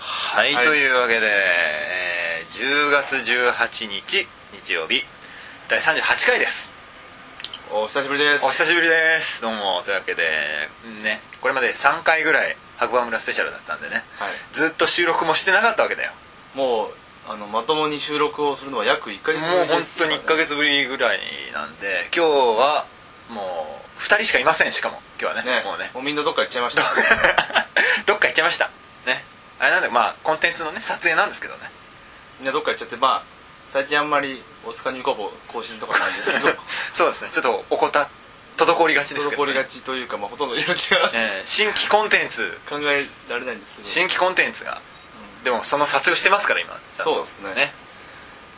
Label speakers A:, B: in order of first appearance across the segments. A: はい、
B: はい
A: というわけで、えー10月18日日曜日第38回です
B: お久しぶりです
A: お久しぶりですどうもというわけでうんねこれまで3回ぐらい白馬村スペシャルだったんでね
B: はい、
A: ずっと収録もしてなかったわけだよ
B: もうあのまともに収録をするのは約1か月
A: もう
B: ぶり
A: 本
B: です
A: 当に1ヶ
B: 月
A: 月ぶりぐらいなんで今日はもう2人しかいませんしかも今日はね
B: ね
A: もうね
B: みんなどっか行っちゃいました
A: どっか行っちゃいましたねあれなんでまあコンテンツのね撮影なんですけどね
B: みんなどっか行っちゃってまあ最近あんまり大塚ニコボ更新とかないんです けど
A: そうですねちょっと怠っ滞りがちですけど、
B: 滞
A: ね
B: りがちというか、まあ、ほとんど色違う、
A: えー新規コンテンツ
B: 考えられないんですけど
A: 新規コンテンツがでもその撮影をしてますから今ちゃんと
B: そうですね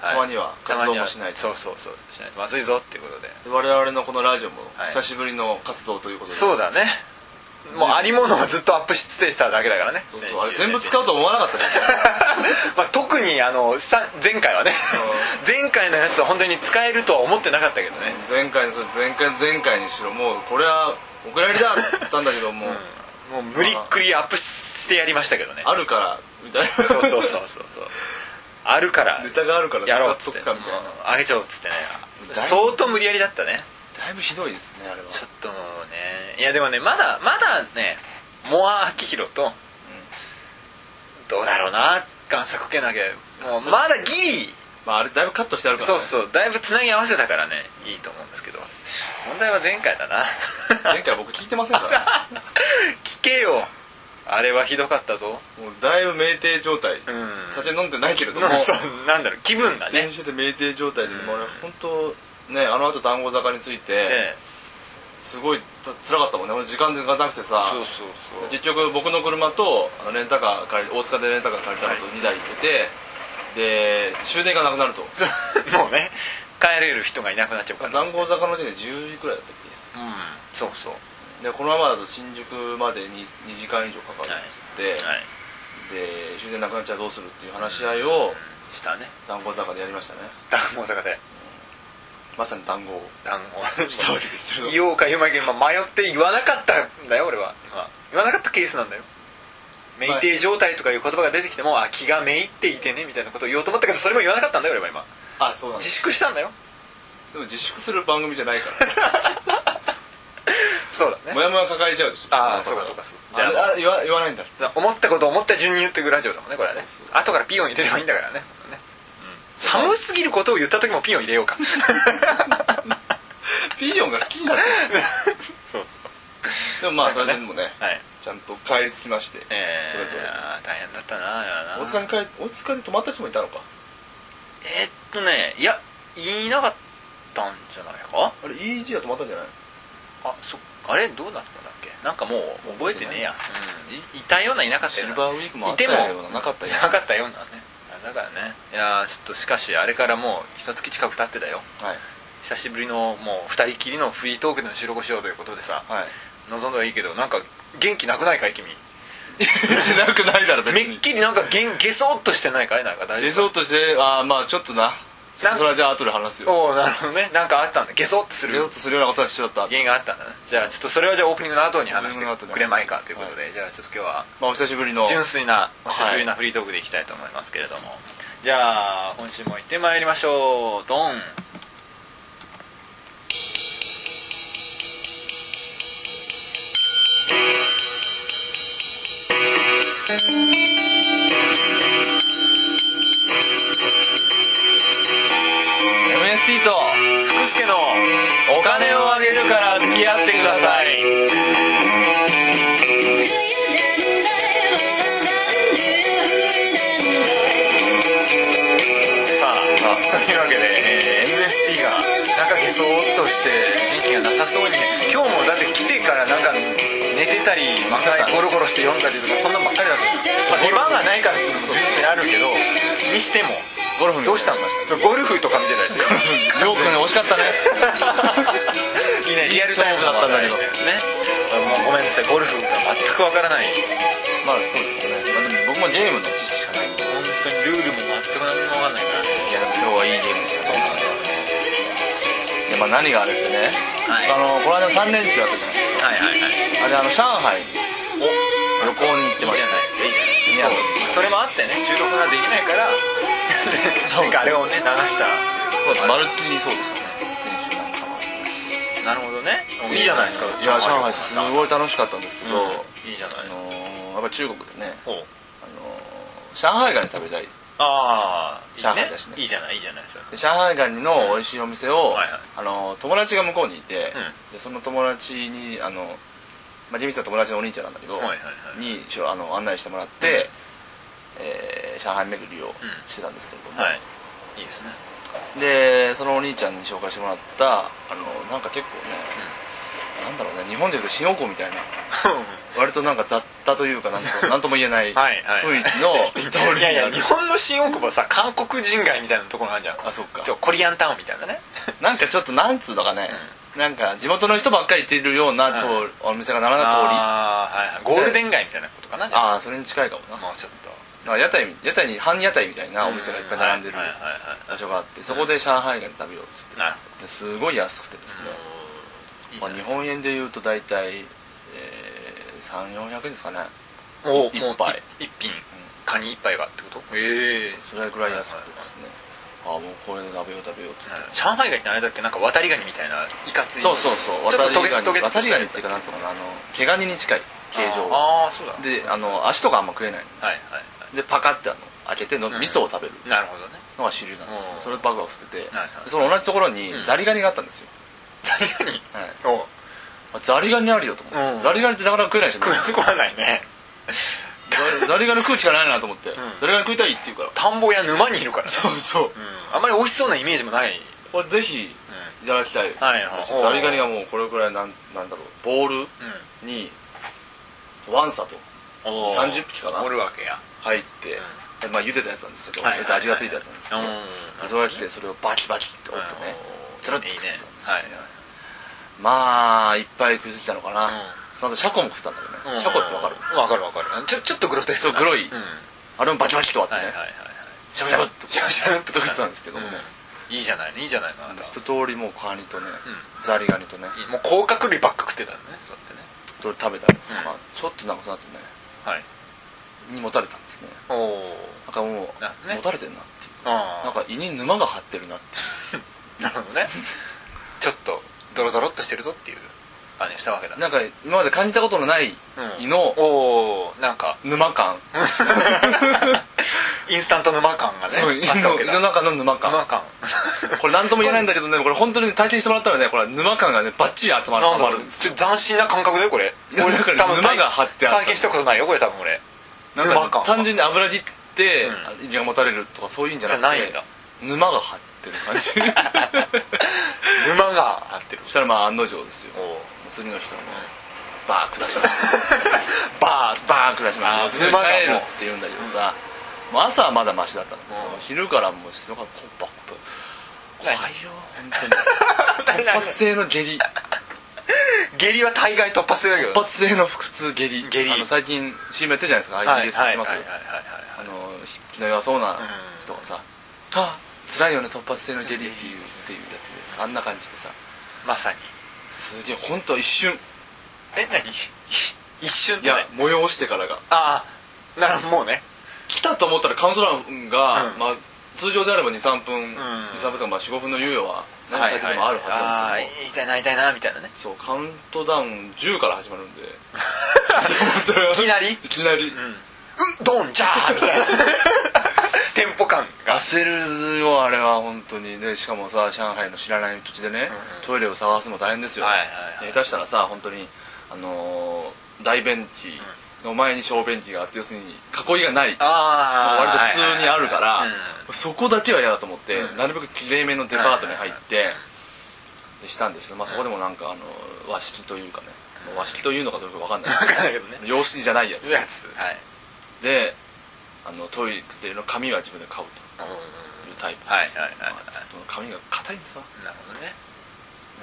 A: はい
B: たまには活動もしないと
A: たまにはそうそうそうしないとまずいぞっていうことで
B: で我々のこのラジオも
A: はい
B: 久しぶりの活動ということで、
A: そうだねもうありものをずっとアップしてただけだからね
B: そうそうあれ全部使うと思わなかったですよ
A: まあ、特にあのさ前回はね前回のやつは本当に使えるとは思ってなかったけどね
B: 前回のそう前回前回にしろもうこれはお蔵入りだっつったんだけどもう、
A: もう無理っくりアップしてやりましたけどね
B: あるからみたいな
A: そうそうそうそうあるから
B: ネタがあるから
A: やろうっつ
B: 使
A: っ
B: ってとくかみたいな、
A: あげちゃおうっつってね
B: だいぶ
A: 相当無理やりだったね
B: だいぶひどいですねあれは
A: ちょっともうねいやでもねまだまだねモア・アキヒロと、どうだろうな贋作けなきゃもうまだギリ
B: まああれだいぶカットしてあるから、
A: そ
B: ね、
A: うそうだいぶつなぎ合わせたからねいいと思うんですけど問題は前回だな
B: 前回僕聞いてませんから
A: 聞けよあれはひどかったぞ
B: もうだいぶ酩酊状態、
A: ん
B: 酒飲んでないけれども
A: なそうなんだろう気分がね
B: 電車で酩酊状態で、もう俺本当ねあの後団子坂について
A: ええ
B: すごいた辛かったもんね俺時間がなくてさ
A: そうそうそう
B: 結局僕の車とあのレンタカー借り大塚でレンタカー借りたのと2台行ってて、で終電がなくなると
A: そう もうね帰れる人がいなくなっちゃうから、
B: 談合坂の時点で10時くらいだったっ
A: うんそうそう
B: けでこのままだと新宿までに2時間以上かかるっつって、
A: はい
B: で終電なくなっちゃうどうするっていう話し合いを
A: したね
B: 談合坂でやりましたね
A: 談合坂で
B: まさに談合
A: 談合
B: したわけですよ
A: 言おうか言うまいけどまあ迷って言わなかったんだよ俺は今言わなかったケースなんだよ酩酊状態とかいう言葉が出てきてもあ気がめいっていてねみたいなことを言おうと思ったけどそれも言わなかったんだよ俺は今
B: あそうなんで
A: 自
B: す
A: 粛したん だよ
B: でも自粛する番組じゃないから
A: そうだ
B: も
A: ね
B: やもや抱えちゃうでしょ
A: あー
B: の方が
A: そうかそうかそうか
B: あれ
A: じゃあ
B: あ言わ言わないんだ
A: 思ったことを思った順に言ってくラジオだもんねこれはね
B: そう
A: 後からピヨン入れればいいんだからねね寒すぎることを言った時もピヨン入れようか
B: ピーヨンが好きになって
A: そう
B: るでもまあそれでもね
A: はい
B: ちゃんと帰り着きまして、
A: え
B: それぞれ
A: ー、大変だったなあれはな
B: 大塚に帰大塚で泊まった人もいたのか
A: えーっとねいやいなかったんじゃないか
B: あれ EG は泊まったんじゃない
A: あそっかあれどうだったんだっけなんかもう覚えてねえや、
B: 覚
A: うん、いいたようないなかった
B: シ
A: よう
B: ル
A: な
B: バーウィークもあっ
A: いて
B: たよ
A: も
B: うななかったよう
A: なかったようなねあだからねいやーちょっとしかしあれからもう一月近く経ってだよ
B: なはい
A: 久しぶりのもう二人きりのフリートークでの収録をしようということでさ
B: はい
A: 望んだはいいけどなんか元気なくないかい君
B: なく ないだろ別
A: めっ
B: に
A: きりなんかげんげそっとしてないかいなんか大
B: 理
A: 丈
B: 想としてああまあちょっとな
A: な
B: それはじゃあ後で話す
A: 夫
B: よ
A: おおなるほどねなんかあったんだげそっとす
B: 理
A: る
B: 想とするようなことはしちゃった
A: 原因があったんだねじゃあちょっとそれはじゃあオープニングの後に話してくれまいかということで、じゃあちょっと今日は
B: まあお久しぶりの
A: 純粋なお久しぶりなフリートークでいきたいと思いますけれども、じゃあ今週も行ってまいりましょうドン
B: MST と
A: 福助のお金をあげるから付き合ってください
C: Do you then die what I'm gonna do then die?
A: さあさあというわけで、えー MST がなんかげそーっとして元気がなさそうにね今日もだって来てからなんか寝てたりまたゴロゴロして読んだりとかそんなんばっかりだった、まあ、出番がないからっていうのも純粋にあるけどにしても
B: ゴルフ
A: どうしたんだ
B: の
A: ゴルフとか見てたりして
B: りょうくん惜しかったね
A: いいねリアルタイムだったんだけどねもうごめんなさいゴルフが全くわからない
B: まあそうですね、まあ、でも僕もゲームの知識しかないんで
A: 本当にルールも全く何もわかんないから
B: いやでも今日はいいゲームでしたそうなんだいやまあ何があるってね、
A: はい
B: あのこの間3連休だったじゃないです
A: はいはいはい
B: かあれあの上海に
A: お
B: 旅行に行ってました
A: いいじゃないですかいいじゃないですかそれもあってね収録ができない から
B: そう
A: なんかあれをね流した
B: マルティニそうでしたね先週なん
A: なる
B: かは
A: ほどねいいじゃないですか
B: いや上海すごい楽しかったんですけど、
A: うんいいじゃない
B: あのーやっぱ中国でね、
A: ほう
B: あのー上海ガニ食べたい
A: ああ
B: 上海だしね
A: いいじゃないいいじゃないですか
B: で上海ガニの美味しいお店を、
A: はいはい
B: あのー友達が向こうにいて、
A: ん
B: でその友達にあの、まあ、リミさんの友達のお兄ちゃんなんだけど、
A: はいはいはい
B: に一応あの案内してもらって、えー上海巡りをしてたんですけれども、
A: はいいいです ね
B: でそのお兄ちゃんに紹介してもらったあのなんか結構ね、なんだろうね日本でいうと新大久保みたいな割となんか雑多というかなんとなんとも言えない
A: はいはい
B: 雰囲気の通りに
A: いやい
B: あ
A: や
B: る
A: 日本の新大久保さ韓国人街みたいなところあるじゃん
B: あそっか
A: ちょコリアンタウンみたいなね
B: なんかちょっとなんつうのかね、なんか地元の人ばっかり行っているようなと、お店が並んだ通りあ
A: あーはいはいゴールデン街みたいなことかなじゃあ
B: あーそれに近いかもな
A: もうちょっと
B: なんか屋台屋台に半屋台みたいなお店がいっぱい並んでる
A: はいはいは
B: 場所があってそこで上海ガニ食べようっつって
A: いなるほ
B: ですごい安くてですね、
A: どいいじ
B: ま
A: ゃ
B: あ、
A: ない
B: 日本円でいうと大体、えー、3400円ですかね
A: お
B: 一
A: もう
B: 杯
A: い一品カニ一杯がってことええ
B: それぐらい安くてですね、ああもうこれで食べよう食べようっつって、
A: 上海ガニってあれだっけなんか渡りガニみたいないかつい
B: そうそうそう
A: ちょ
B: 渡
A: っ
B: り
A: とト
B: ガ
A: ゲ
B: ニ
A: トゲ
B: 渡りガニってていうかなんつうのかなあの毛ガニに近い形状
A: ああーそうだ
B: であの足とかあんま食えない
A: はいはいは
B: でパカってあの開けての味噌を食べる
A: いなるほどね
B: のが主流なんですよ、
A: うん
B: それバクバク振ってて、
A: はいはい
B: その同じところに
A: ん
B: ザリガニがあったんですよ、
A: 渡りガニ
B: はい
A: お
B: あザリガニあるよと思って、
A: うん
B: ザリガニってなかなか食えないでしょ
A: 食わ食わないね
B: ザザリガニ食うしかないなと思って、
A: ん
B: ザリガニ食いたいって言うから
A: 田んぼや沼にいるからそう
B: そう
A: あんまり美味しそうなイメージもない
B: これぜひいただきたい、
A: はいはい
B: ザリガニがもうこれくらいなんなんだろうボールにワンサと
A: おー
B: 30匹かな
A: おるわけや
B: 入って、でまあ茹でたやつなんですけど、
A: はいはいはい
B: 味がついたやつなんですけど、
A: うん
B: でそれが来てそれをバキバキって折ってね、つるっと
A: いい
B: 食って
A: ね
B: たんですよ
A: はい
B: まあいっぱい食いついたのかな、
A: うん
B: その後シャコも食ったんだけど
A: う
B: ね、
A: ん
B: シャコってわかる
A: わかるわかるちょちょっとグロテスクな
B: そうグロい
A: うんは
B: あれもバキバキと割っ
A: いは
B: て
A: い
B: ね、
A: はい
B: シャブシャブっと
A: シャブシャブっと
B: 食ってたんですけどもね、
A: うんいいじゃないのいいじゃないのあなた
B: 一通りもうカニとね、ザリガニとね
A: もう甲殻類ばっか食ってたのねそうやってね
B: 一通り食べたんですけど、
A: うん
B: まあ、ちょっとなんかその後ね
A: はい
B: 胃にもたれたんですね
A: おお
B: なんかもう、
A: なね
B: もたれてんなっていう
A: あ
B: なんか胃に沼が張ってるなって
A: あなるほどね ちょっとドロドロっとしてるぞっていう感じしたわけだ
B: なんか今まで感じたことのない胃の
A: おおなんか
B: 沼感、
A: インスタント沼感がね
B: そう胃
A: あったわ
B: の
A: け
B: 胃
A: だ
B: の中の沼感
A: 沼感
B: これ何とも言えないんだけどねこれ本当に体験してもらったらねこれ沼感がねバッチリ集まる
A: なん
B: は
A: だ
B: ま
A: ろ
B: る
A: うん
B: です
A: ちょっと斬新な感覚だよこれ
B: いやだから沼が張ってあった
A: 体験したことないよこれ多分俺
B: な
A: 沼
B: ん
A: 感
B: かね 単純に油切って
A: う
B: 胃がもたれるとかそういうんじゃなくて
A: じゃないんだ
B: 沼が張ってる感 じ
A: 沼が張ってる
B: そしたらまあ案の定ですよ
A: おお
B: 次の日からもうバー下しま した
A: バー
B: バーン下しました
A: あー
B: うちの家
A: 沼がもう
B: 帰るって言うんだけどさ、もう朝はまだマシだったの、昼からもう静岡コッパコッパ怖い よ本当に 突発性の下痢
A: 下痢は大概突破するけど
B: 突発性の腹痛下痢
A: 下痢
B: あの最近 CM やってるじゃないですか IBS してますよあの気の弱そうな人がさ「あ辛いよね突発性の下痢」っていうっていうやつであんな感じでさ
A: まさに
B: すげえ本当一瞬
A: え何 一瞬
B: い
A: で
B: や催してからが
A: ああなるほどもうね
B: 来たと思ったらカウントダウンが、
A: うん
B: まあ、通常であれば23分、23分とかまあ45分の猶予は何歳とかもあるはずなんですけど、
A: すけど痛いな痛いなみたいなね
B: そうカウントダウン10から始まる んで
A: いきなり
B: いきなり、
A: うどんじゃーみた いなテンポ感が
B: 焦るよあれは本当にでしかもさ上海の知らない土地でね、トイレを探すの大変ですよ、
A: はいはいはい
B: で下手したらさ本当にあのー大便器の前に小便器があって要するに囲いがないま
A: あ
B: あ割と普通にあるから、
A: はいはいはい
B: そこだけは嫌だと思って、なるべくきれいめのデパートに入って、でしたんですけど、まあ、そこでもなんかあの和式というかねまあ和式というのかどうか分かんない
A: わかんないけどね
B: 洋式じゃないや
A: う
B: つ
A: んやつはい
B: であのトイレの紙は自分で買うというタイプです
A: はいはいはいはい
B: まあその紙が硬いんですわね
A: なるほどね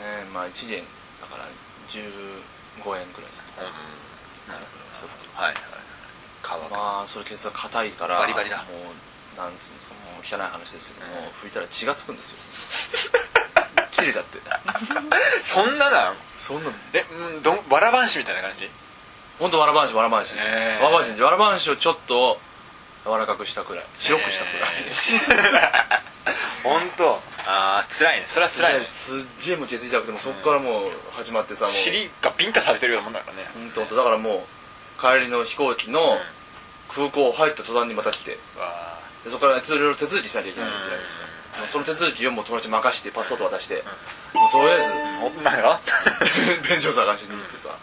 B: えまあ1元だから15円くらいですね
A: なる
B: 一袋
A: ほどはいはい皮が
B: まあそれケツが硬いから
A: バリバリだ
B: もうなんつうんですかもう汚い話ですけども、拭いたら血がつくんです よ切れちゃって
A: そんななの
B: そんな
A: えうんどんわらばんしみたいな感じ
B: 本当わらばんしわらばんし、
A: ねえ
B: わらばんしわらばんしをちょっと柔らかくしたくらい白くしたくらい、
A: 本当ああ辛いねそれは辛いです
B: すっげえもう血痛くてもうそっからもう始まってさもう
A: 尻がビンタされてるようなもんだからね
B: ほんとほんとだからもう帰りの飛行機の空港入った途端にまた来て
A: わ
B: でそこからいろいろ手続きしなきゃいけないじゃないですか、もうその手続きをもう友達に任してパスポート渡して、もうとりあえ
A: ーおなん か
B: ず便所探しに行ってさ、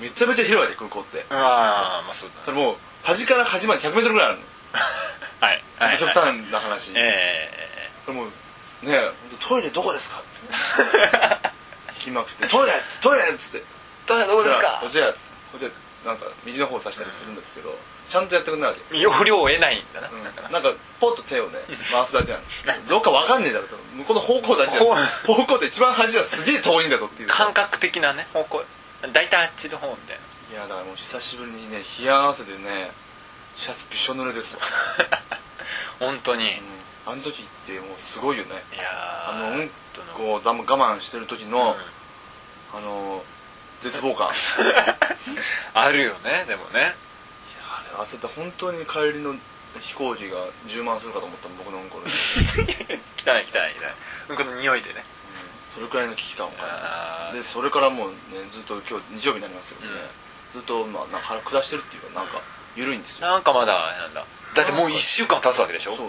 B: めちゃめちゃ広いね空港って
A: ああまあそう
B: それもう端から端まで 100m ぐらいあるの
A: だはいはい
B: 極
A: はい
B: 端な話、
A: え
B: それもうねえトイレどこですか?」っつって聞きまくって「トイレ!」っつって「トイレ!」っつって
A: えどうど
B: 「
A: うですか
B: こちらこちら」こちらなんか右の方を指したりするんですけど、ちゃんとやってくれないわけ、
A: 要領を得ないんだな、
B: うん
A: だから
B: なんかポッと手をね回すだけなのどっかわかんねえだろと向こうの方向だけじゃ
A: ほ
B: ん方向って一番端はすげえ遠いんだぞっていう
A: 感覚的なね方向大体あっちの方みたいない
B: やだからもう久しぶりにね冷や汗でねシャツびしょ濡れですわ、
A: 本当に、い
B: うん、あの時ってもうすごいよね
A: やー
B: あのうん
A: 本当の
B: こう我慢してる時の、あの絶望感
A: あるよねでもね
B: あれ焦って本当に帰りの飛行機が充満するかと思ったの僕のうんこの
A: 汚い汚い汚いこの匂いでね
B: それくらいの危機感を感じ
A: あ
B: たでそれからもうねずっと今日日曜日になりますけどね、ずっとまあなんか腹下してるっていうかなんか緩いんですよ
A: なんかまだあれなんだだってもう1週間経つわけでし
B: そ
A: ょ
B: うそう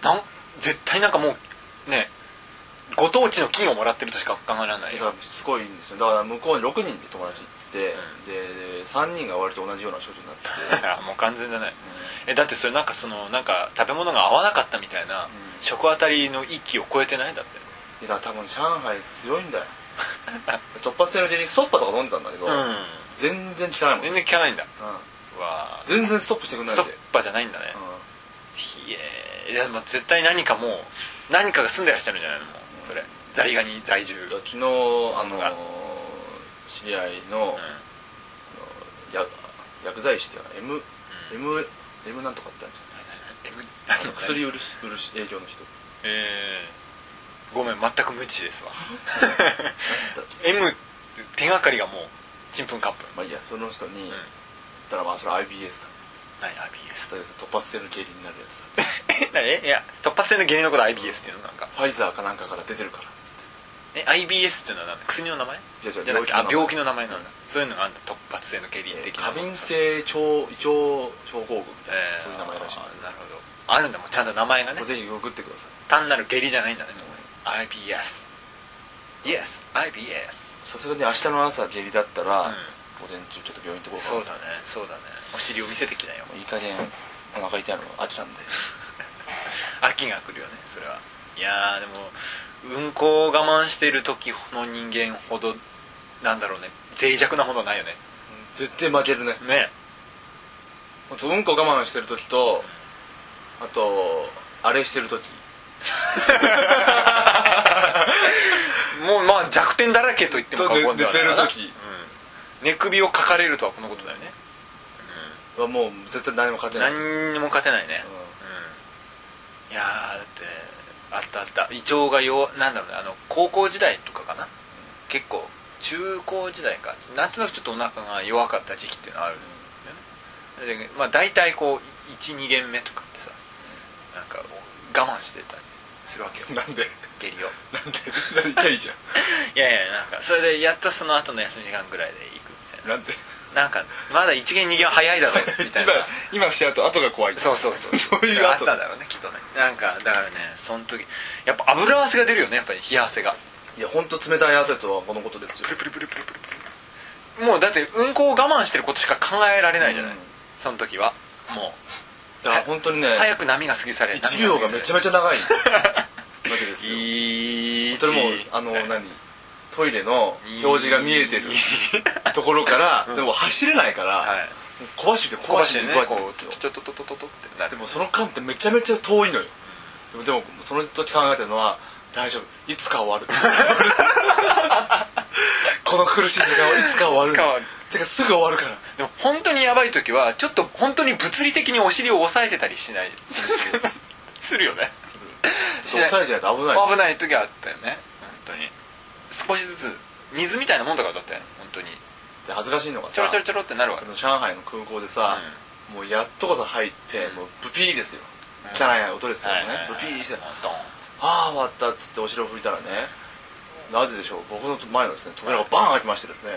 A: なん絶対なんかもうねご当地の金をもらってるとしか考えられない
B: だ
A: よ
B: からしつこいんですよだから向こうに6人で友達行ってて、でで3人が割と同じような症状になってて
A: あもう完全だね、えだってそれなんかそのなんか食べ物が合わなかったみたいな、食あたりの域を超えてないだって
B: でだから多分上海強いんだよ突発性のジェリーストッパーとか飲んでたんだけど、全然効かないもん、
A: 全然効かないんだ
B: うん
A: うわー
B: 全然ストップしてくんない
A: ス
B: ん
A: ト
B: で
A: ッパーじゃないんだね、
B: うん
A: いえいやまあ絶対何かもう何かが住んでらっしゃるんじゃないのもうそれザリガニ在住
B: 昨日あの
A: が
B: 知り合いのや薬剤師っていうか M,、M, M なんとかってあるじゃん薬売る売る営業の人
A: えー、ごめん全く無知ですわ
B: なんつった
A: M って手がかりがもうちんぷんかんぷん
B: まあいいやその人に言ったらまあそれ IBS だっつっ
A: 何 IBS
B: てだけど突発性の原因になるやつだっつって
A: え何いや突発性の原因のこと IBS っていうのなんか
B: ファイザーかなんかから出てるからっつって
A: え IBS っていうのは何だ薬の名前
B: じゃあじゃあ
A: なくてあ病
B: 病
A: 気
B: 気
A: の名前なんだ、そういうのがあんだ突発性の原因的な
B: 過敏性腸胃腸症候群みたいな、
A: えー
B: そういう名前らしい
A: あーなるほどあるんだもうちゃんと名前がね
B: もうぜひググってください
A: 単なる下痢じゃないんだね、IBS Yes IBS
B: さすがに明日の朝下痢だったら、
A: ん
B: 午前中ちょっと病院行ってこうかな
A: そうだねそうだねお尻を見せてきなよ
B: いい加減お腹痛いの飽きたんで
A: 秋が来るよねそれはいやーでもうんこを我慢してる時の人間ほどなんだろうね脆弱なほどないよね
B: 絶対負けるね
A: ね
B: ほんとうんこ我慢してる時とあとあれしてる時
A: もうまあ弱点だらけと言っても過言ではないかな
B: と寝てる時
A: うん、寝首をかかれるとはこのことだよね
B: はもう絶対何も勝てないです
A: 何にも勝てないね、うんいやーだってあったあった胃腸が弱なんだろうねあの高校時代とかかな結構中高時代かなんとなくちょっとお腹が弱かった時期っていうのはあるんだよねでまあ大体こう12限目とかってさなんか我慢してたりするわけよ
B: なんで
A: 下痢を
B: なんで何キャリじゃ ん
A: いやいやなんかそれでやっとその後の休み時間ぐらいで行くみたい
B: なんで
A: ななんかまだ1限2限は早いだろうみたい な
B: 今今しちゃうと後が怖い
A: そうそうそう
B: そういう
A: あっ
B: 後
A: たんだろうねきっとねなんかだからねその時やっぱ油汗が出るよねやっぱり冷や汗が
B: いや本当冷たい汗とはこのことですよ
A: プルプルプルプルプルプルもうだってうんこを我慢してることしか考えられないじゃない、
B: うん
A: その時はも
B: だから本当にね
A: う早く波が過ぎ去れ
B: 1秒がめちゃめ
A: ち
B: ちゃ長いわけですよ
A: いい
B: それもあの何トイレの表示が見えてるところからでも走れないから、
A: はい
B: 壊してて壊
A: 壊
B: し
A: してて
B: て
A: ね
B: 壊して
A: こ
B: て
A: うちょちょっとととととってなる
B: でもその間ってめちゃめちゃ遠いのよ、でもでもその時考えてるのは大丈夫いつか終 わるこの苦しい時間はいつか終わる
A: いつか終わる
B: てかすぐ終わるから
A: でも本当にやばい時はちょっと本当に物理的にお尻を押さえてたりしない するよねしない
B: 押されてないと危ない
A: 危ない時はあったよね本当に少しずつ水みたいなもんだからだって本当に
B: で恥ずかしいのが
A: ちょろ
B: さ
A: ちょろちょろってなるわ
B: その上海の空港でさ、もうやっとこそ入ってもうブピーですよ汚い音ですよねブピーして
A: ドン
B: ああ終わったっつってお城を拭いたらねなぜでしょう僕の前のですね扉がバーン開きましてですね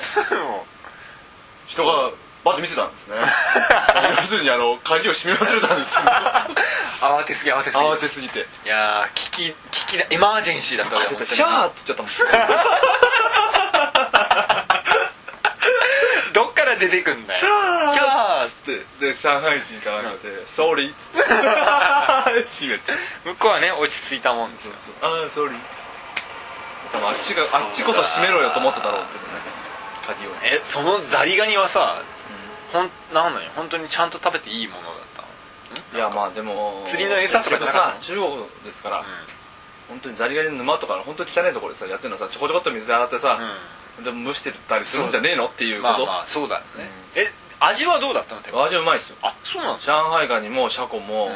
B: 人がバッと見てたんです ね要するにあの鍵を閉め忘れたんですよ
A: 慌てす ぎ慌てすぎ
B: 慌てすぎて
A: いやー危機危機だエマージェンシーだったわ
B: 焦った
A: シャーっつっちゃったもんどっから出てくんだよキャー
B: つってで上海人から見て「ソーリー」っつって閉めて
A: 向こうはね落ち着いたもんですよ
B: 「ああソーリー」っつって多分あっちがあっちこそ閉めろよと思っただろうけどね鍵を
A: えそのザリガニはさ、ほんなのに本当にちゃんと食べていいものだったの
B: いやまあでも
A: 釣りの餌とかじゃなかった
B: さ
A: の
B: 中国ですから、本当にザリガニの沼とかの本当に汚いところでさやってるのさちょこちょこっと水で洗ってさ、でも蒸してたりするんじゃねえのっていうこ
A: まあ
B: と、
A: まあそうだよね、え味はどうだったのって
B: 味はうまいっすよ
A: あそうなんですか
B: 上海ガニもシャコも、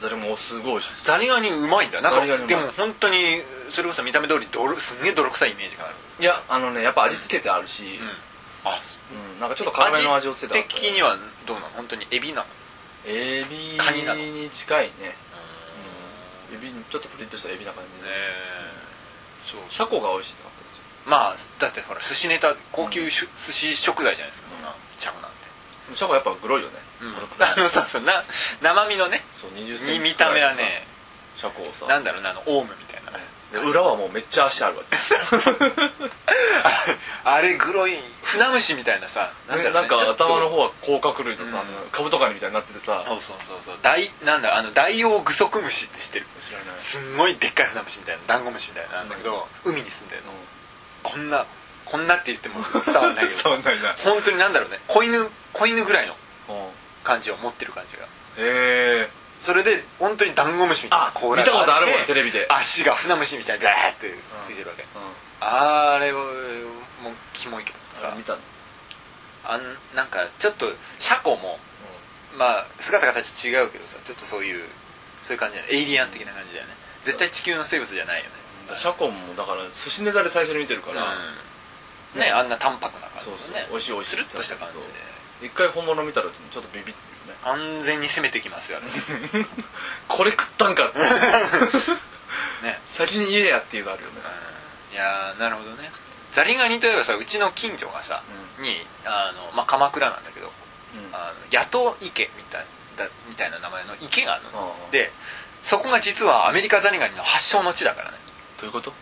B: ザリガニもすごい美味しいです
A: ザリガニうまいんだなん
B: ザリガニう
A: か
B: まい
A: でも本当にそれこそ見た目通り泥すんげえ泥臭いイメージがある
B: いやあのねやっぱ味付けてあるし、
A: あ
B: うんなんかちょっと辛めの味をつけてある
A: 的にはどうなの本当にエビなの
B: エ
A: カニなの
B: ビに近いねうんエビにちょっとプリッとしたエビな感じで、
A: そう
B: シャコが美味しいってなったんですよ
A: まあだってほら寿司ネタ高級しゅ寿司食材じゃないですかそんなチャムなんて
B: でもシャコやっぱグロいよね、このくらい
A: あのさそうな生身のね
B: そう20センチ
A: み
B: くら
A: 見た
B: いのさ
A: 目はね
B: シャコをさ
A: なんだろうなあのオウムみたいなね
B: で裏はもうめっちゃ足あるわけですよ
A: あれグロい船虫みたいなさだ
B: ね
A: ろうね
B: なんか
A: ちょっと
B: 頭の方は甲殻類のさ、カブトガニみたいになっててさ
A: そうそうそうそう大なんだあのダイオウグソクムシって知ってる
B: 知らない
A: すんごいでっかい船虫みたいなダンゴムシみたいななんだけど海に住んでるのこんなこんなって言っても 伝わん ないけど
B: わんないな
A: 本当になんだろうね子犬子犬ぐらいの感じを持ってる感じが
B: へえ
A: それで本当にダンゴムシみたいな
B: あ見たことあるもんテレビで
A: 足が船虫みたいにガーってついてるわけ、あれはもうキモいけどさ
B: 見たの
A: あんなんかちょっと車庫も、まあ姿形違うけどさちょっとそういうそういう感じだよねエイリアン的な感じだよね絶対地球の生物じゃないよね
B: シャコもだから寿司ネタで最初に見てるから、
A: うんねあんな淡白な感じ
B: そう
A: のね
B: そう美味しい美味しい
A: つるっとした感じで
B: 一回本物見たらちょっとビビってね
A: 完全に攻めてきますよね
B: これ食ったんか って
A: ね
B: 先に言えやっていうのあるよね
A: いやーなるほどねザリガニといえばさうちの近所がさ、にあの、まあ、鎌倉なんだけど、
B: うん
A: あの野党池みたいだみたいな名前の池があるの
B: ああ
A: でそこが実はアメリカザリガニの発祥の地だからね
B: どういうこと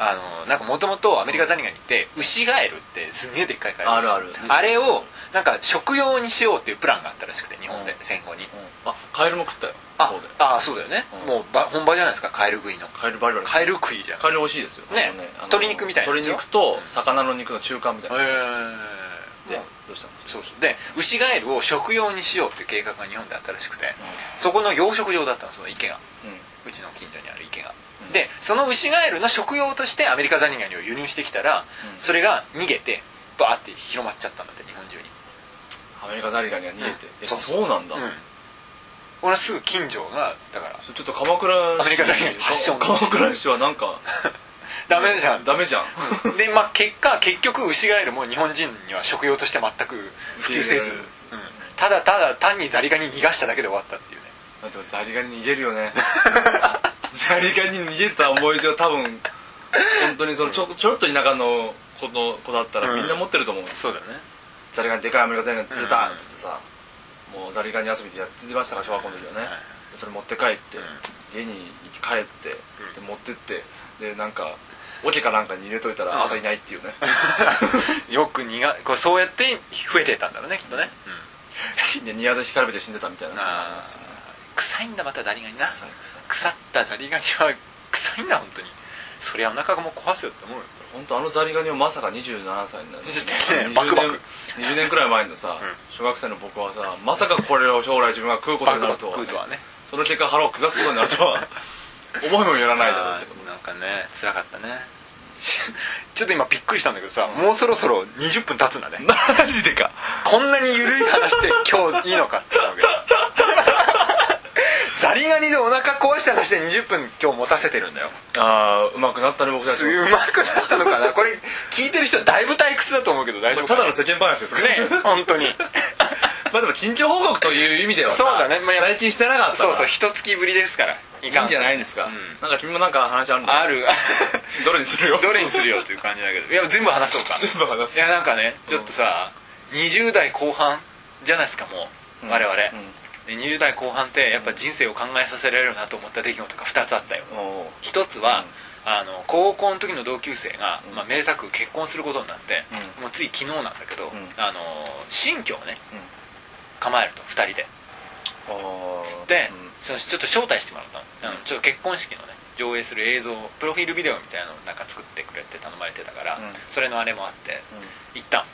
A: あのなんかもともとアメリカザリガニってウシガエルってすげえでっかいカエル
B: あるある
A: あれをなんか食用にしようっていうプランがあったらしくて日本で
B: うん
A: 戦後に
B: あカエルも食ったよ
A: あ
B: そうで
A: あそうだよね
B: うん
A: もうば本場じゃないですかカエル食いの
B: カエルバリバリ
A: カエル食いじゃん
B: カエル美味しいですよ
A: ね
B: あのあの
A: 鶏肉みたいなやつ
B: 鶏肉と魚の肉の中間みたいな
A: へえ
B: でどうしたの
A: そうそうでウシガエルを食用にしようっていう計画が日本であったらしくて、そこの養殖場だったのその池がうちの近所にある池が、でそのウシガエルの食用としてアメリカザリガニを輸入してきたら、それが逃げてバーって広まっちゃったんだって日本中に、
B: アメリカザリガニが逃げて
A: うん
B: え
A: そう
B: そうなんだ
A: うん俺はすぐ近所がだから
B: それちょっと鎌倉市
A: アメリカザリガニ発祥の地
B: 鎌倉市はなんか
A: ダメじゃん
B: ダメじゃ ん
A: でまあ結果結局ウシガエルも日本人には食用として全く普及せず、
B: うん
A: うんただただ単にザリガニ逃がしただけで終わったっていうね
B: なんてザリガニ逃げるよね ザリガニ逃げた思い出は多分本当にそのちょちょろっと田舎の子の子だったらみんな持ってると思う、
A: そう だよね
B: ザリガニでかいアメリカザリガニ釣れた
A: うん
B: っつってさもうザリガニ遊びでやってましたから小学校の時はね、それ持って帰って、家に帰ってで持ってってでなんか桶かなんかに入れといたら朝いないっていう ね、
A: よく逃がこうそうやって増えてったんだろうねきっとね、
B: でニアで干からびて死んでたみたいなのがありますよね
A: 臭いんだまたザリガニな
B: 臭い臭い
A: 腐ったザリガニは臭いんだ本当にそりゃお腹がもう壊すよって思うよ
B: 本当あのザリガニはまさか27歳になる
A: ねバクバク
B: 20年くらい前のさ、小学生の僕はさまさかこれを将来自分が食うこと
A: バ
B: に
A: ク
B: な
A: バ
B: る
A: ク
B: とは,、
A: 食うとはね
B: その結果腹を下すことになる とは思いもよらないだろうけど
A: あーなんかね辛かったね ちょっと今びっくりしたんだけどさ、もうそろそろ20分経つんだね
B: マジでか
A: こんなに緩い話で今日いいのかって 思うけどザリガニでお腹壊した話で20分今日持たせてるんだよ
B: ああうまくなったね僕たち
A: す
B: も
A: うまくなったのかなこれ聞いてる人だいぶ退屈だと思うけど大丈夫か
B: た
A: な
B: だの世間話ですか
A: ね本当に
B: まあでも緊張報告という意味ではさ
A: そうだねまあやっぱ
B: 最近してなかった
A: そ
B: ら
A: うそう一月ぶりですからい
B: い
A: か
B: いんじゃないいんですか、
A: うん
B: なんか君もなんか話あるの
A: ある
B: どれにするよ
A: どれにするよという感じだけどいや全部話そうか
B: 全部話
A: い
B: す
A: やなんかねちょっとさ、20代後半じゃないですかもう、我々、で20代後半ってやっぱ人生を考えさせられるなと思った出来事が2つあったよ、
B: うんおう
A: 一つは、あの高校の時の同級生が、まあ、めでたく結婚することになって、もうつい昨日なんだけど、あの新居をね、
B: ん
A: 構えると2人で
B: おう
A: で、
B: うん
A: そのちょっと招待してもらったのあのちょっと結婚式のね上映する映像プロフィールビデオみたいなのをなんか作ってくれって頼まれてたから、
B: ん
A: それのあれもあって、行った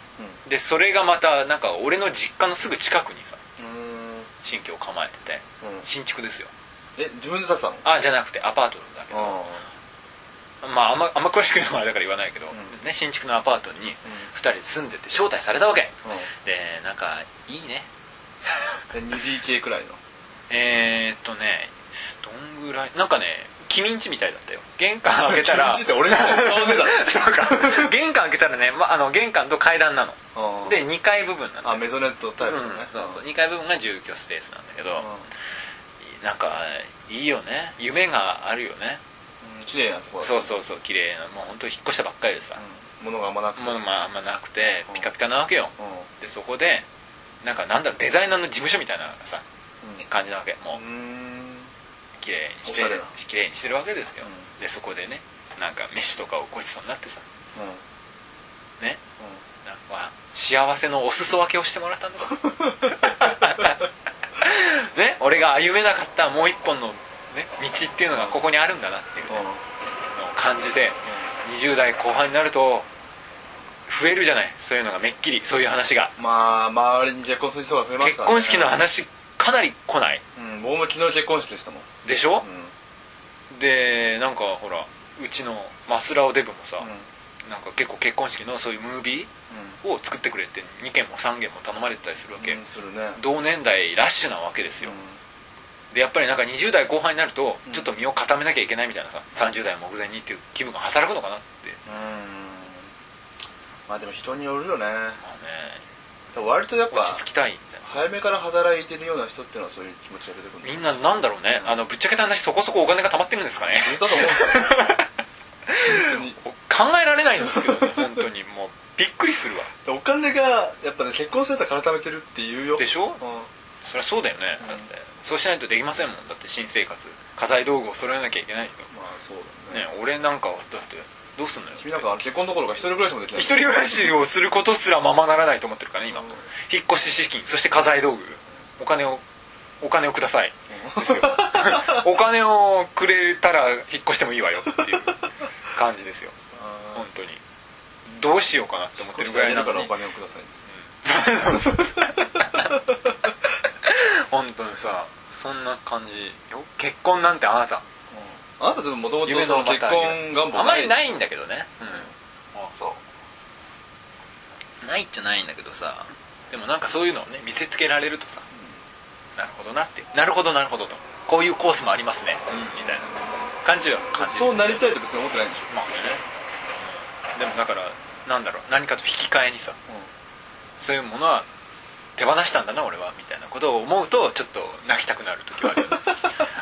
A: の、でそれがまたなんか俺の実家のすぐ近くにさ
B: うん
A: 新居を構えてて、
B: うん
A: 新築ですよ
B: え自分で出したの
A: あじゃなくてアパートだけど
B: あ
A: まああんまあんま詳しく言うのはあれだから言わないけど、ね、新築のアパートに2人で住んでて招待されたわけ、
B: うん
A: でなんかいいね
B: 2DK くらいの
A: えー、っとねどんぐらいなんかね君んちみたいだったよ玄関開けたら
B: 気持ちって俺の顔出た
A: そうか 玄関開けたらね、ま、あの玄関と階段な
B: う
A: の
B: ん
A: で2階部分なの
B: あメゾネットタイプのね
A: そうそう2階部分が住居スペースなんだけどなんかいいよね夢があるよね
B: うん綺麗なとこだ
A: そうそうそう綺麗なもう本当引っ越したばっかりでさ
B: うん物があんまなくて
A: ものもあんまなくてピカピカなわけよ
B: うん
A: でそこでなんかなんだろうデザイナーの事務所みたいなさ
B: う
A: 感じなわけもう
B: う
A: ん綺麗にして
B: おしゃれな
A: 綺麗にしてるわけですよ
B: う
A: でそこでねなんか飯とかをごちそうになってさねなんか幸せのお裾分けをしてもらったんだぞね俺が歩めなかったもう一本の、ね、道っていうのがここにあるんだなっていう
B: うんうん
A: のを感じて20代後半になると増えるじゃないそういうのがめっきりそういう話が
B: まあ周りに結婚する人が増えま
A: 結
B: すからね
A: 婚式の話かなり来ない
B: うん僕も昨日結婚式でしたもん
A: でしょ
B: う、ん
A: でなんかほらうちのマスラオデブもさ、
B: うん
A: なんか結構結婚式のそういうムービーを作ってくれって2件も3件も頼まれてたりするわけ、
B: うんするね
A: 同年代ラッシュなわけですよ、
B: う
A: でやっぱりなんか20代後半になるとちょっと身を固めなきゃいけないみたいなさ30代目前にっていう気分が働くのかなって
B: んまあでも人によるよね
A: まあね
B: 割とやっぱ
A: 落ち着きたいみたいな
B: 早めから働いてるような人っていうのはそういう気持ちが出てくる
A: みんななんだろうねあのぶっちゃけた話そこそこお金が貯まってるんですかね
B: ずっとと思うんですよ本当に
A: 考えられないんですけ どね本当にもうびっくりするわ
B: お金がやっぱね結婚するやつは改めてるっていうよ
A: でしょ
B: うん
A: そりゃそうだよねだってそうしないとできませんもんだって新生活家財道具を揃えなきゃいけない
B: まあそう
A: け
B: だ
A: ど
B: ね
A: ね俺なんかはだってどうすんのよ
B: 君なんか結婚どころか一人暮らしもできない
A: 一人暮らしをすることすらままならないと思ってるからね今
B: うん
A: 引っ越し資金そして家財道具お金をお金をくださいですよお金をくれたら引っ越してもいいわよっていう感じですよ
B: あ
A: 本当にどうしようかなって思っ
B: ー
A: てる
B: 少
A: ぐ
B: しぐら
A: らい
B: い
A: な
B: だか
A: の
B: らお
A: に
B: 金をください
A: 本当にさそんな感じよ結婚なんてあなた
B: あなたでももともと
A: 夢のまた
B: 結婚願望
A: あまり
B: い
A: ないんだけどねうん
B: あそう
A: ないっちゃないんだけどさでもなんかそういうのをね見せつけられるとさ、なるほどなってなるほどなるほどとこういうコースもありますね、みたいな感じは感じる
B: そうなりたいと別に思ってないんでしょ
A: まあね、うんでもだからなんだろう何かと引き換えにさ、そういうものは手放したんだな俺はみたいなことを思うとちょっと泣きたくなる時はある よね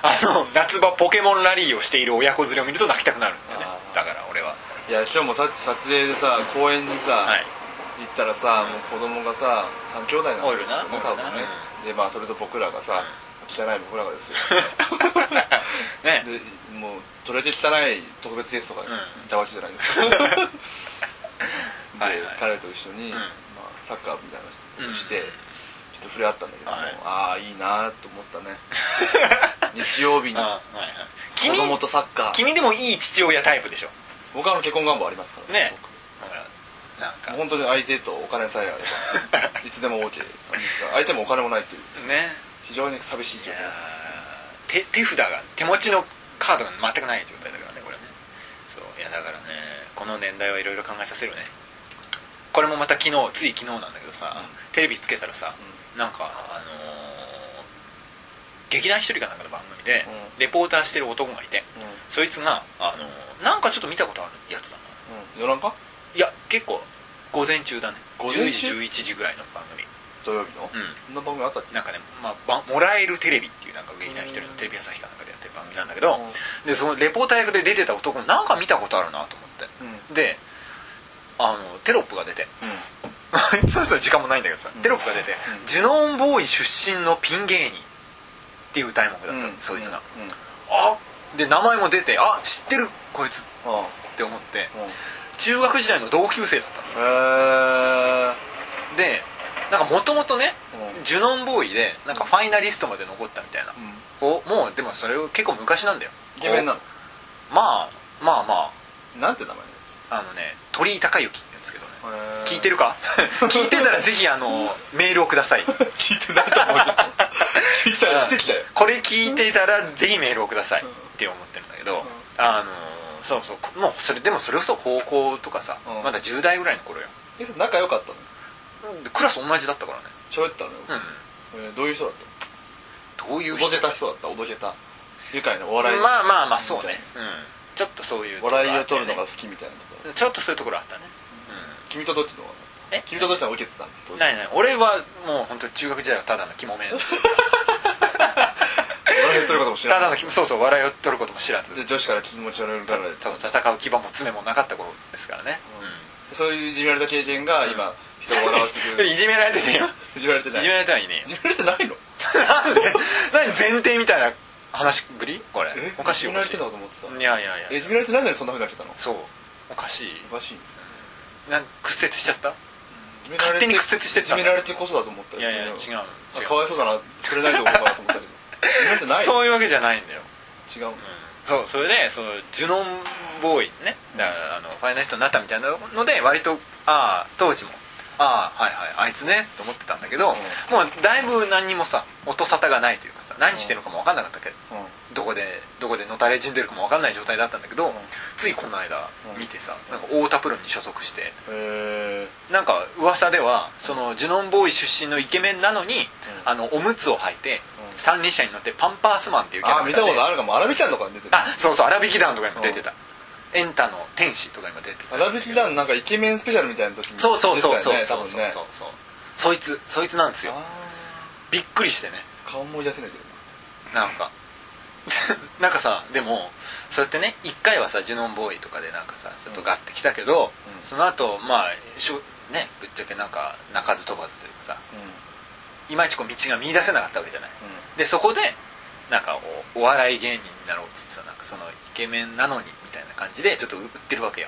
A: あの夏場ポケモンラリーをしている親子連れを見ると泣きたくなるんだよね
B: あー
A: だから俺はい
B: や今日もさっき撮影でさ公園にさ、
A: はい
B: 行ったらさもう子供がさ3兄弟なんですよ
A: お
B: ね
A: るな
B: 多分
A: おるな
B: ねでまあそれと僕らがさ汚い僕らがですよ
A: ね
B: でもうどれだけ汚い特別ゲストがいたわけじゃないです か
A: はいはい
B: 彼と一緒に、
A: ん
B: まあ、サッカーみたいなの
A: うん
B: をして、ちょっと触れ合ったんだけども、
A: はい
B: ああいいなと思っ たね日曜日に
A: あはいはい
B: 子供とサッカー
A: 君でもいい父親タイプでしょ
B: 僕はあの結婚願望ありますから
A: ね
B: 僕
A: だからなんか
B: もう本当に相手とお金さえあればいつでも OK なんですが相手もお金もないっていう
A: ね
B: 非常に寂しい
A: い
B: 状
A: や
B: 況
A: ー手手札が手持ちのカードが全くない状態だからねこれねそういやだからねこの年代はいろいろ考えさせるねこれもまた昨日つい昨日なんだけどさ、テレビつけたらさ、なんかあのー劇団ひとりかなんかの番組で、
B: う
A: レポーターしてる男がいて、
B: うん
A: そいつが、あのーなんかちょっと見たことあるやつだな
B: うん、夜中
A: いや結構午前中だね
B: 午前中
A: 10時11時ぐらいの番組
B: 土曜日
A: う
B: の、
A: ん
B: そんな番組あったっけ
A: なんかね、まあば、もらえるテレビっていうなんか劇団一人のテレビ朝日かなんかでやってる番組なんだけど、でそのレポーター役で出てた男もなんか見たことあるなと思って、であのテロップが出て そろそろ時間もないんだけどさ、テロップが出て、ジュノンボーイ出身のピン芸人っていう題目だったの、
B: うん
A: そいつが、
B: うんうん
A: あで名前も出てあ知ってるこいつっ
B: あ
A: て思って
B: あうん
A: 中学時代の同級生だったの
B: へー
A: でなんかもともとね、
B: うん
A: ジュノンボーイでなんかファイナリストまで残ったみたいな、おもうでもそれ結構昔なんだよ
B: イケメンなの
A: まあまあまあ
B: なんて名前のやつ
A: あのね鳥居隆之ってやつけどね
B: へー
A: 聞いてるか聞いてたらぜひあのメールをください
B: 聞いてないと思うけど 聞いてたらしてきたよ
A: これ聞いてたらぜひメールをくださいって思ってるんだけど、あのそうそうもうそれでもそれこそ高校とかさ、
B: うん
A: まだ10代ぐらいの頃よ
B: えそれ仲良かったの
A: でクラス同じだったからね
B: 喋ったの
A: うん
B: えーどういう人だっ
A: どうい
B: た
A: う
B: おど
A: 人
B: けた人だったおどけた愉快なお笑い
A: まあまあまあそうね、うん、ちょっとそういうところあっ
B: 笑
A: たよね
B: いを取るのが好きみたいなとこ
A: ちょっとそういうところあったね
B: 君とどっちの方が
A: え
B: 君とどっちの方が受けてたの当時
A: ないない俺はもう本当中学時代はただのキモめだし
B: 笑いを取ることも知ら
A: た
B: な
A: だ
B: い
A: のキモそうそう笑いを取ることも知らず
B: で女子から気持ち悪がられて
A: そう戦う牙も爪もなかった頃ですからね、
B: そういういじめられた経験が今人を笑わせてく
A: う
B: れ
A: ん
B: る
A: いじめられてねえよ
B: いじめられて
A: い
B: ない
A: じめられてはいね
B: いじめられてないの
A: えよなんで何前提みたいな話ぶりこれおかしい
B: いじ
A: お
B: めら
A: か
B: れ
A: しい
B: てんのかと思ってた
A: いやいやい
B: えい
A: や
B: じめられてないのにそんなふうになっちゃったの
A: そうおかしい
B: おかしいね
A: なん屈折しちゃった
B: いじめられ
A: 勝手に屈折して
B: い
A: っ
B: じ
A: た
B: められてこそだと思ったよ
A: いやいや違う
B: そ
A: 違
B: れは
A: う
B: あかわいそうだな触れないでおこうかなと思ったけどいじめられてない
A: そういうわけじゃないんだよ
B: 違うの
A: そうそれでそのジュノンボーイねだからあのファイナリストになったみたいなので割とああ当時もああはいはいあいつねと思ってたんだけど、もうだいぶ何にもさ音沙汰がないというかさ何してるのかも分かんなかったけど、
B: うん
A: どこでどこでのたれ死んでるかも分かんない状態だったんだけど、ついこの間見てさ、なんか太田プロに所属して
B: え
A: なんか噂ではそのジュノンボーイ出身のイケメンなのに、あのおむつを履いて、三輪車に乗ってパンパースマンっていう
B: ー
A: キャ
B: あ
A: ラ
B: ー
A: ク
B: 見
A: タ
B: た
A: ー
B: こ
A: で
B: とあるかも荒引き団とかに出てる
A: あそうそう荒引き団とかにも出てた、エンタの天使とかにも出てた
B: 荒引き団なんかイケメンスペシャルみたいな時に
A: そうそうそう
B: 出て
A: そ
B: た
A: う
B: よね
A: そ
B: 多
A: うそう
B: 分
A: そう、そ
B: ね
A: いつそいつなんですよびっくりしてね
B: 顔思い出せないけど
A: なんか なんかさでもそうやってね一回はさジュノンボーイとかでなんかさちょっとガッてきたけど、
B: うん
A: その後まあしょねぶっちゃけなんか鳴かず飛ばずというかさいまいちこう道が見出せなかったわけじゃない、でそこでなんかおお笑い芸人になろうっつってさなんかそのイケメンなのにみたいな感じでちょっと売ってるわけよ、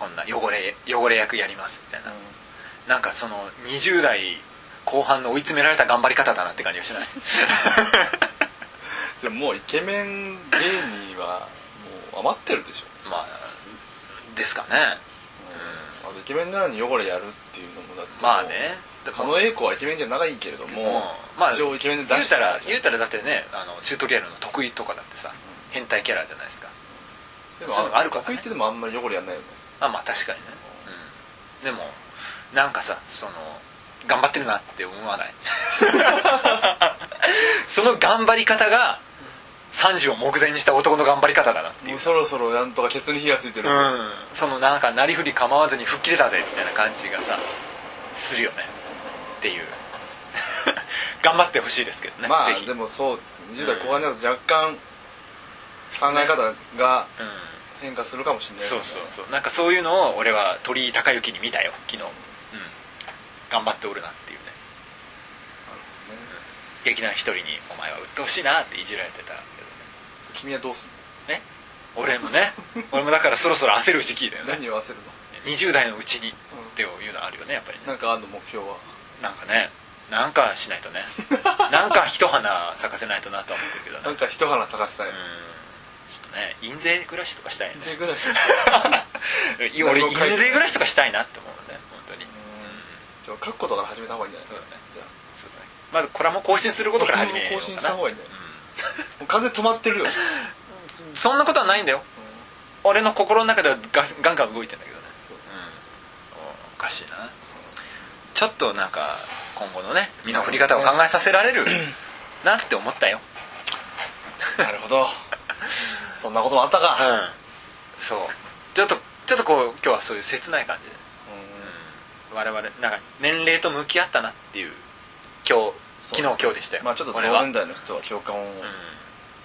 A: こんな汚れ汚れ役やりますみたいな、なんかその20代後半の追い詰められた頑張り方だなって感じが しない
B: でももうイケメン芸人はもう余ってるでしょ
A: まあですかね
B: あのイケメンなのに汚れやるっていうのもだって
A: まあねだ
B: 狩野英孝はイケメンじゃないけれども、
A: もうまあ
B: 一応イケメンで
A: 言
B: 出
A: う
B: して
A: たら言うたらだってねあのチュートリアルの得意とかだってさ変態キャラじゃないですか
B: で
A: そういう
B: も
A: の
B: あ
A: あ
B: る
A: るか
B: から
A: ね
B: 得意ってでもあんまり汚れやんないよね
A: あまあ確かにね、うん、でもなんかさその頑張ってるなって思わない その頑張り方が30を目前にした男の頑張り方だなっていう
B: もうそろそろなんとかケツに火がついてる、
A: うん、そのなんかなりふり構わずに吹っ切れたぜみたいな感じがさするよねっていう 頑張ってほしいですけどね
B: ま
A: ぜ
B: あ
A: ひ
B: でもそうですね20代後半になると若干考え方が
A: うん、
B: 変化するかもしれないです
A: そう
B: ね
A: そうそうなんかそういうのを俺は鳥居隆之に見たよ昨日、うん、頑張っておるなっていうね劇団一人に「お前は鬱陶しいな」っていじられてたけどね
B: 君はどうする
A: ね俺も ね俺もだからそろそろ焦る時期だよ
B: の
A: ね
B: 何を合わせる
A: 20代のうちにっていうのあるよねやっぱりね
B: のなんかあんの目標は
A: なんかねなんかしないとねなんか一花咲かせないとなとは思ってるけど
B: な
A: ね
B: んか一花探したい、
A: うんちょっとね印税暮らしとかしたいよね
B: 人生ぐらいしか
A: いや俺
B: 何も
A: 印
B: 書いて
A: 税暮らしとかしたいなって思うね本当に
B: じゃあ書くことから始めた方がいいんじゃない
A: そうだね
B: じゃあ
A: そうだねまずコラム更新することから始めようかな
B: 更新した方がいいんじゃないもう完全に止まってるよ
A: そんなことはないんだよ、俺の心の中ではガスガンガン動いてんだけどね
B: そう
A: うんおかしいなちょっとなんか今後のね身の振り方を考えさせられる なって思ったよ
B: なるほどそんなこともあった
A: う
B: か
A: んそうちょっとちょっとこう今日はそういう切ない感じで我々なんか年齢と向き合ったなっていう今日昨日今日でしたよ
B: まあちょっと
A: 俺
B: 同
A: は、
B: 年代の人は共感を
A: うん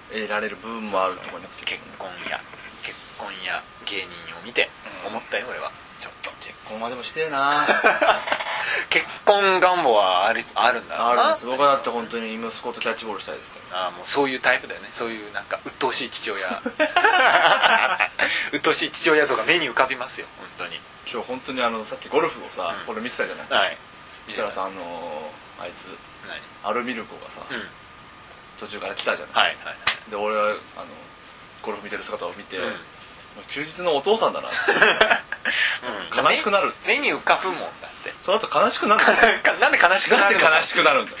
B: 得られる部分もあると思いますけど
A: 結婚や結婚や芸人を見て思ったよ俺はちょっと
B: 結婚はでもしてえ な
A: 結婚願望はあるあるんだろ
B: あ
A: うな
B: るんです僕はだって本当に息子とキャッチボールしたいですから
A: ああもうそういうタイプだよねそういうなんか鬱陶しい父親鬱陶しい父親像が目に浮かびますよ本当に
B: 今日本当にあのさっきゴルフをさ、
A: うん
B: これ見てたじゃない
A: はい
B: 設楽さんあのーあいつ
A: 何
B: アルミルクがさ、
A: うん
B: 途中から来たじゃない、
A: はいはいはい
B: で俺はあのゴルフ見てる姿を見て、
A: うん
B: 休日のお父さんだ なって 悲しくなる
A: 目目に浮かぶもんだって
B: その後悲しくなるんだよ
A: なんで悲しく
B: な
A: なん
B: で
A: るの
B: 悲しくなるんだよ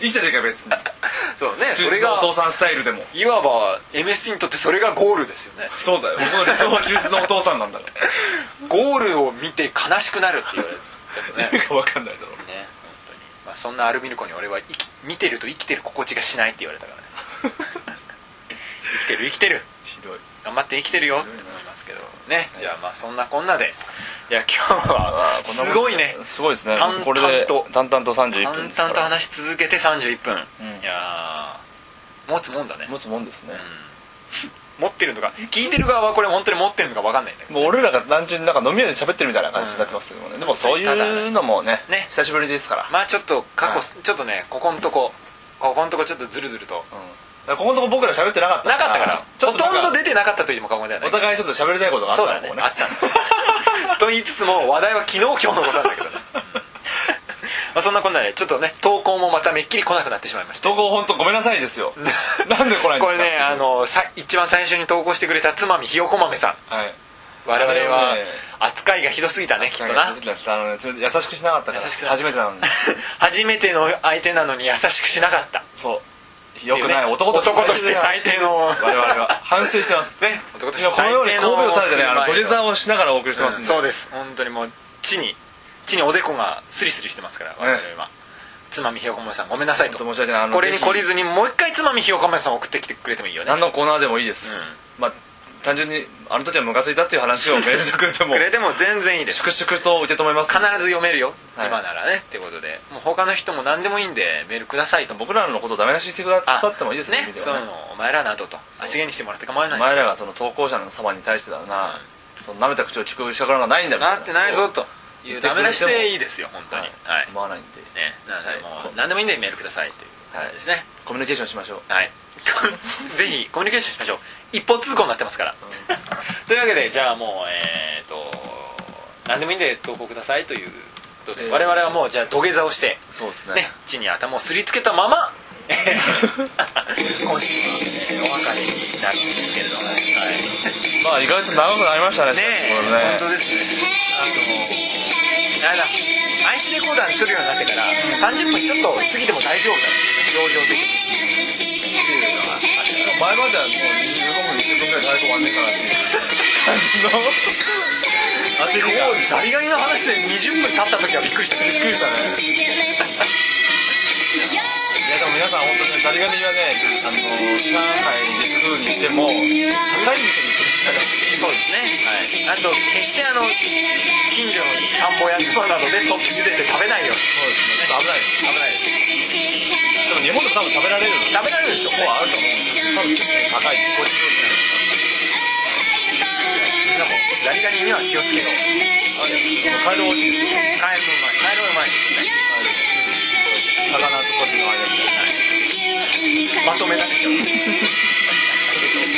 B: いいじゃねえか別に
A: そうね
B: 休
A: そ
B: 日
A: れ
B: の
A: が
B: お父さんスタイルでも
A: いわば MSC にとってそれがゴールですよね
B: そう だよ僕の理想は休日のお父さんなんだから
A: ゴールを見て悲しくなるって言われ
B: 意
A: てもね
B: 味が分かんないだろう
A: ね本当に、まあ、そんなアルミルコに俺は生き見てると生きてる心地がしないって言われたからね 生きてる生きてる
B: ひどい
A: 頑張って生きてるよって思いますけどねいやまあそんなこんなでいや今日は
B: こんなもん
A: すごいね
D: すごいですね
A: 淡々と
D: これで淡々と31
A: 淡
D: 分
A: 々
D: ですか
A: と
D: ら
A: 話し続けて31分、
D: うん
A: いやー持つもんだね
D: 持つもんですね、
A: 持ってるのが聞いてる側はこれ本当に持ってるのか分かんないんだけど
D: もう俺らが単純になんか飲み屋で喋ってるみたいな感じになってますけどもね、でもそういうのもね
A: ね
D: 久しぶりですから、
A: まあちょっと過去、
D: はい
A: ちょっとねここのとこここのとこちょっとずるずると
D: うん、だからここのとこ僕ら喋ってなかった
A: なかったから
D: ちょ
A: ほ
D: っとな
A: と
D: か
A: んど出てなかったと言っても過言ではない
D: お互いちょっと喋りたいことがあった
A: そ
D: のか
A: うだね
D: も
A: あったのと言いつつも話題は昨日今日のことなんだ けどねまあそんなこんなでちょっとね投稿もまためっきり来なくなってしまいました
D: 投稿本当ごめんなさいですよなんで来ないんですか
A: これねあのさ一番最初に投稿してくれたつまみひよこ豆さん
D: はい
A: 我々
D: あ
A: は
D: れはね
A: 扱いがひどすぎたねきっとな
D: あのねちょっと優しくしなかったから
A: 優しくなかった
D: 初めてなのに
A: 初めての相手なのに優しくしなかった
D: そうよくない男として
A: 男として最低の我
D: 我々は反省してます
A: ね男として
D: 今このように神戸を垂れてねあの土下座をしながらお送りしてますんで、
A: そうです本当にもう地に地におでこがスリスリしてますから我々は、つまみひよこ豆さんごめんなさいと
D: 本当申し訳ないあの
A: これ
D: ぜ
A: に
D: ひ
A: 懲りずにもう一回つまみひよこ豆さん送ってきてくれてもいいよね
D: 何のコーナーでもいいです、まあ単純にあの時はムカついたっていう話 をメールしてくれても
A: くれても全然いいです
D: 粛々と受け止めます
A: 必ず読めるよ、
D: はい
A: 今ならねってことでもう他の人も何でもいいんでメールくださいと
D: 僕らのことをダメ出ししてくだ
A: あ
D: さってもいいですね
A: ね
D: 意味で
A: そ
D: は
A: う
D: ね
A: いうのお前らなどと足毛にしてもらって構わない
D: 前らがその投稿者の様に対してだな、その舐めた口を聞く資格なんかないんだみたい
A: なってないぞというダメ出しでいいですよ本当に
D: はい
A: はい、
D: 思わないんで、
A: ねなのでもう
D: はい
A: 何でもいいんでメールくださいっていう感じですね、
D: コミュニケーションしましょう
A: はい。 ぜひコミュニケーションしましょう。一方通行になってますから。というわけで、じゃあもう、えっ、と、何でもいいんで投稿くださいということで、
D: えー
A: 我々はもう、じゃあ土下座をして、
D: そうですね
A: ね、地に頭をすりつけたま ま、えー今週のお別れになるんですけれども、はい
D: まあ意外と長くなりましたね
A: ねえ、
D: こ
A: 本当ですね。あの、あれだ、IC レコーダーに来るようになってから、30分ちょっと過ぎても大丈夫だっていう、容量的に。っていうのはあって
D: れね前まではもう15分20分ぐらい太鼓終わんねえからっていう 感じの焦りが
A: ザリガニの話で20分経った時はびっくりした
D: びっくりしたねいやでも皆さん本当にザリガニはねあの上海で食うにしても高い店に行くしかない
A: そうですね、はい、あと決してあの近所の田んぼや妻などでと茹でて食べないように
D: そうですねちょっと危ないです
A: 危ないです
D: でも日本でも多分食べられるの
A: 食べられるでしょ
D: もうあると思うんですけど多分高いごち
A: みんなもザリガニには気をつけろ
D: そうカエル美味しいですよ
A: 帰る前帰る前に
D: 魚とこっちの間みたい
A: まとめられちゃう
D: な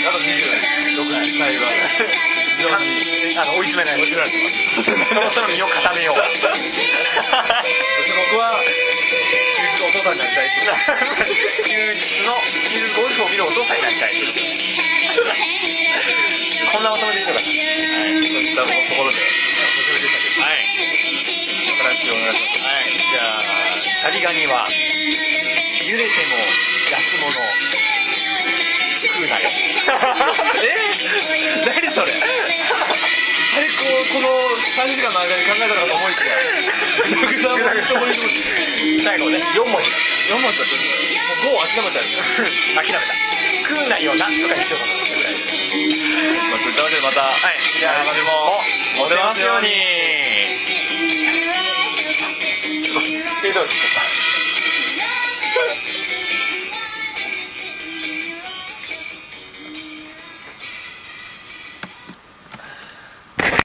D: あと26歳は非常に
A: あの追い詰めない追い詰められてますそろそろ身を固めよう
D: そして僕は休日のお父さんになりたいっていう
A: 休日の休日ゴルフを見るお父さんになりたいこんなまとめでいいのかな
D: そういったところで
A: 初めてしたけどはい
D: お話をお願いします
A: はい、じゃあ、ザリガニは、茹でても安物、食うなよ。
D: え何それあれこうこの
B: 3時間の間に考えたのかと思いきやグダグダグダグダ
A: 最後ね4文字
B: 4文字だったもう5を諦めたよ
A: 諦めた食うんないよなとか言ってよう
B: まあといったわけでまた
A: はい
B: じゃあ今年もモテますように
A: えどうですか